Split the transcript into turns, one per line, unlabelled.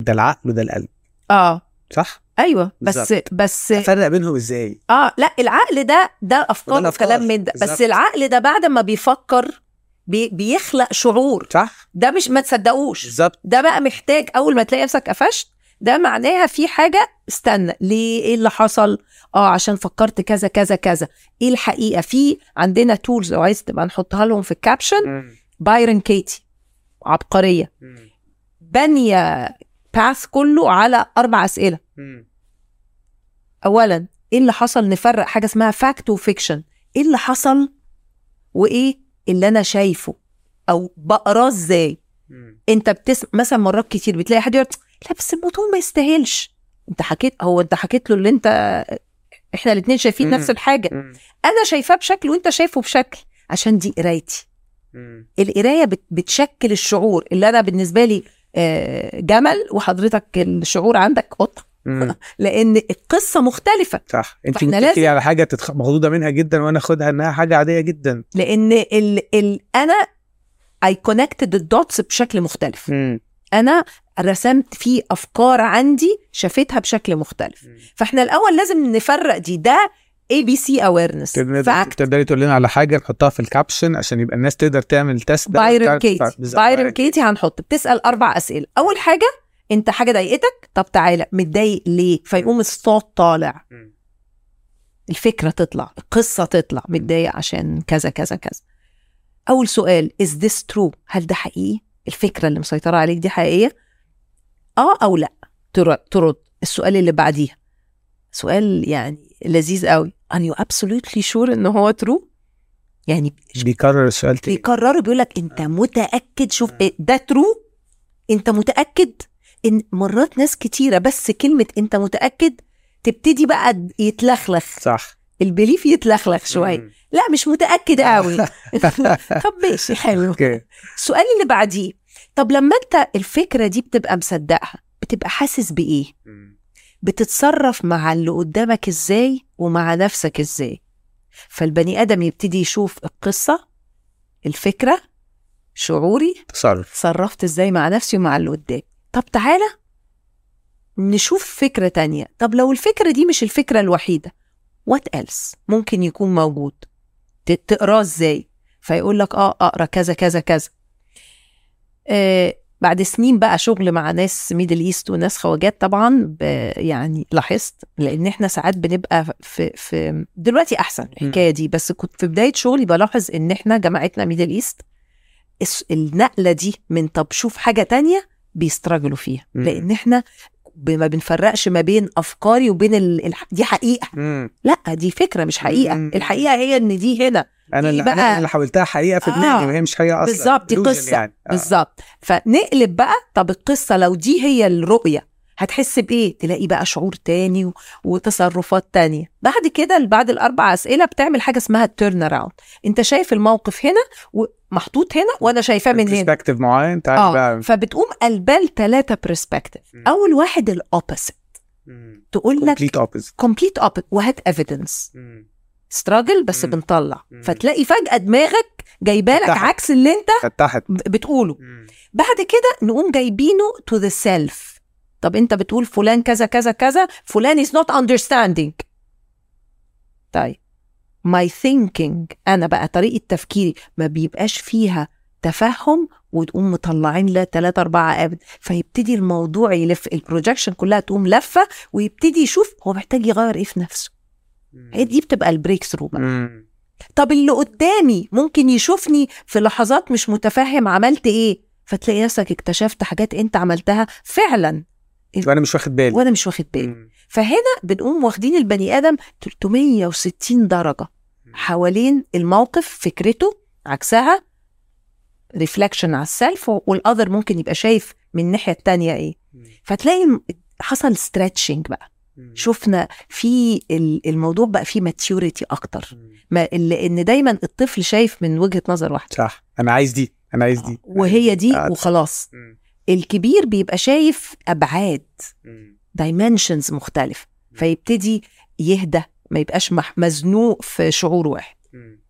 ده العقل وده القلب
اه
صح؟
ايوه بس
بالظبط.
بس
افرق بينهم ازاي؟
اه لا العقل ده ده افكار
وده الأفكار.
وكلام من ده
بالظبط.
بس العقل ده بعد ما بيفكر بي بيخلق شعور
صح؟
ده مش ما تصدقوش
بالظبط
ده بقى محتاج اول ما تلاقي نفسك قفشت ده معناها في حاجه استنى ليه ايه اللي حصل اه عشان فكرت كذا كذا كذا ايه الحقيقه في عندنا تولز لو عايز تبقى نحطها لهم في الكابشن بايرن كيتي عبقريه بنيه باث كله على اربع اسئله اولا ايه اللي حصل نفرق حاجه اسمها فاكت وفيكشن ايه اللي حصل وايه اللي انا شايفه او بقراه ازاي انت بتسمع مثلا مرات كتير بتلاقي حد يقول لا بس الموضوع ما يستاهلش انت حكيت هو انت حكيت له اللي انت احنا الاثنين شايفين
مم.
نفس الحاجه انا شايفاه بشكل وانت شايفه بشكل عشان دي قرايتي القرايه بت- بتشكل الشعور اللي انا بالنسبه لي آه، جمل وحضرتك الشعور عندك قطه لان القصه مختلفه
صح انت
فإحنا
ممكن
لازم-
تحكي لي على حاجه تتخ... مخضوضه منها جدا وانا اخدها انها حاجه عاديه جدا
لان ال ال انا اي كونكتد الدوتس بشكل مختلف انا رسمت فيه افكار عندي شافتها بشكل مختلف فاحنا الاول لازم نفرق دي ده اي بي سي اويرنس
تقدر- تقدري تقول لنا على حاجه نحطها في الكابشن عشان يبقى الناس تقدر تعمل تيست ده
بايرن
وتعرف-
كيتي
بالظبط،
بايرن كيتي هنحط بتسال اربع اسئله اول حاجه انت حاجه ضايقتك طب تعالى متضايق ليه فيقوم الصوت طالع
مم.
الفكره تطلع القصه تطلع متضايق عشان كذا كذا كذا اول سؤال is this true هل ده حقيقي الفكره اللي مسيطره عليك دي حقيقيه اه او لا تر- ترد السؤال اللي بعديها سؤال يعني لذيذ قوي are you absolutely sure ان هو true يعني
بيكرر السؤال تاني
بيكرروا بيقول لك انت متاكد شوف إيه، ده ترو انت متاكد ان مرات ناس كتيره بس كلمه انت متاكد تبتدي بقى يتلخلخ
صح
البليف يتلخلخ شويه
مم.
لا مش متاكد قوي طب ماشي حلو
اوكي
السؤال اللي بعديه طب لما انت الفكره دي بتبقى مصدقها بتبقى حاسس بايه بتتصرف مع اللي قدامك ازاي ومع نفسك ازاي فالبني ادم يبتدي يشوف القصه الفكره شعوري
تصرف
اتصرفت ازاي مع نفسي ومع اللي قدامي طب تعالى نشوف فكرة تانية طب لو الفكرة دي مش الفكرة الوحيدة وات else ممكن يكون موجود ت- تقراه ازاي فيقول لك اه اقرا كذا كذا كذا آه بعد سنين بقى شغل مع ناس ميدل ايست وناس خواجات طبعا ب- يعني لاحظت لان احنا ساعات بنبقى في في دلوقتي احسن الحكايه دي بس كنت في بدايه شغلي بلاحظ ان احنا جماعتنا ميدل ايست الس- النقله دي من طب شوف حاجه تانية بيستراجلوا فيها
مم.
لان احنا ب- ما بنفرقش ما بين افكاري وبين ال... الح- دي حقيقه
مم.
لا دي فكره مش حقيقه
مم. آه.
الحقيقه هي ان دي هنا
انا اللي
إيه بقى-
أنا اللي حاولتها حقيقه في
آه.
دماغي وهي مش حقيقه اصلا
بالظبط، دي
Illusion
قصة.
يعني آه.
بالظبط فنقلب بقى طب القصه لو دي هي الرؤيه هتحس بايه تلاقي بقى شعور تاني و- وتصرفات تانية بعد كده اللي بعد الاربع اسئله بتعمل حاجه اسمها التيرن اراوند انت شايف الموقف هنا ومحطوط هنا وانا شايفاه من هنا
perspective معين تعالى
اه
بقى
فبتقوم قلبال ثلاثه برسبكتيف
مم.
اول واحد الاوبوسيت
مم.
تقول لك
complete opposite
كومبليت اوبوسيت وهات ايفيدنس
مم.
استراجل بس
مم.
بنطلع
مم.
فتلاقي فجاه دماغك جايبالك
فتحت.
عكس اللي انت
فتحت
ب- بتقوله
مم.
بعد كده نقوم جايبينه تو ذا سيلف طب انت بتقول فلان كذا كذا كذا فلان از نوت اندرستاندينج طيب ماي ثينكينج انا بقى طريقه تفكيري ما بيبقاش فيها تفهم وتقوم مطلعين لا ثلاثة أربعة أبد فيبتدي الموضوع يلف البروجكشن كلها تقوم لفة ويبتدي يشوف هو محتاج يغير إيه في نفسه هي دي بتبقى البريك ثرو بقى
مم.
طب اللي قدامي ممكن يشوفني في لحظات مش متفهم عملت ايه فتلاقي نفسك اكتشفت حاجات انت عملتها فعلا
وانا مش واخد بالي
وانا مش واخد بالي
مم.
فهنا بنقوم واخدين البني ادم 360 درجه حوالين الموقف فكرته عكسها ريفلكشن على السلف والاذر ممكن يبقى شايف من الناحيه التانية ايه
مم.
فتلاقي الم- حصل ستريتشنج بقى
مم.
شفنا في ال- الموضوع بقى فيه ماتيوريتي اكتر
مم.
ما لان دايما الطفل شايف من وجهه نظر واحده
صح انا عايز دي انا عايز دي
وهي دي
آه،
وخلاص
مم.
الكبير بيبقى شايف ابعاد
مم.
دايمنشنز مختلفه فيبتدي يهدى ما يبقاش مح- مزنوق في شعور واحد
مم.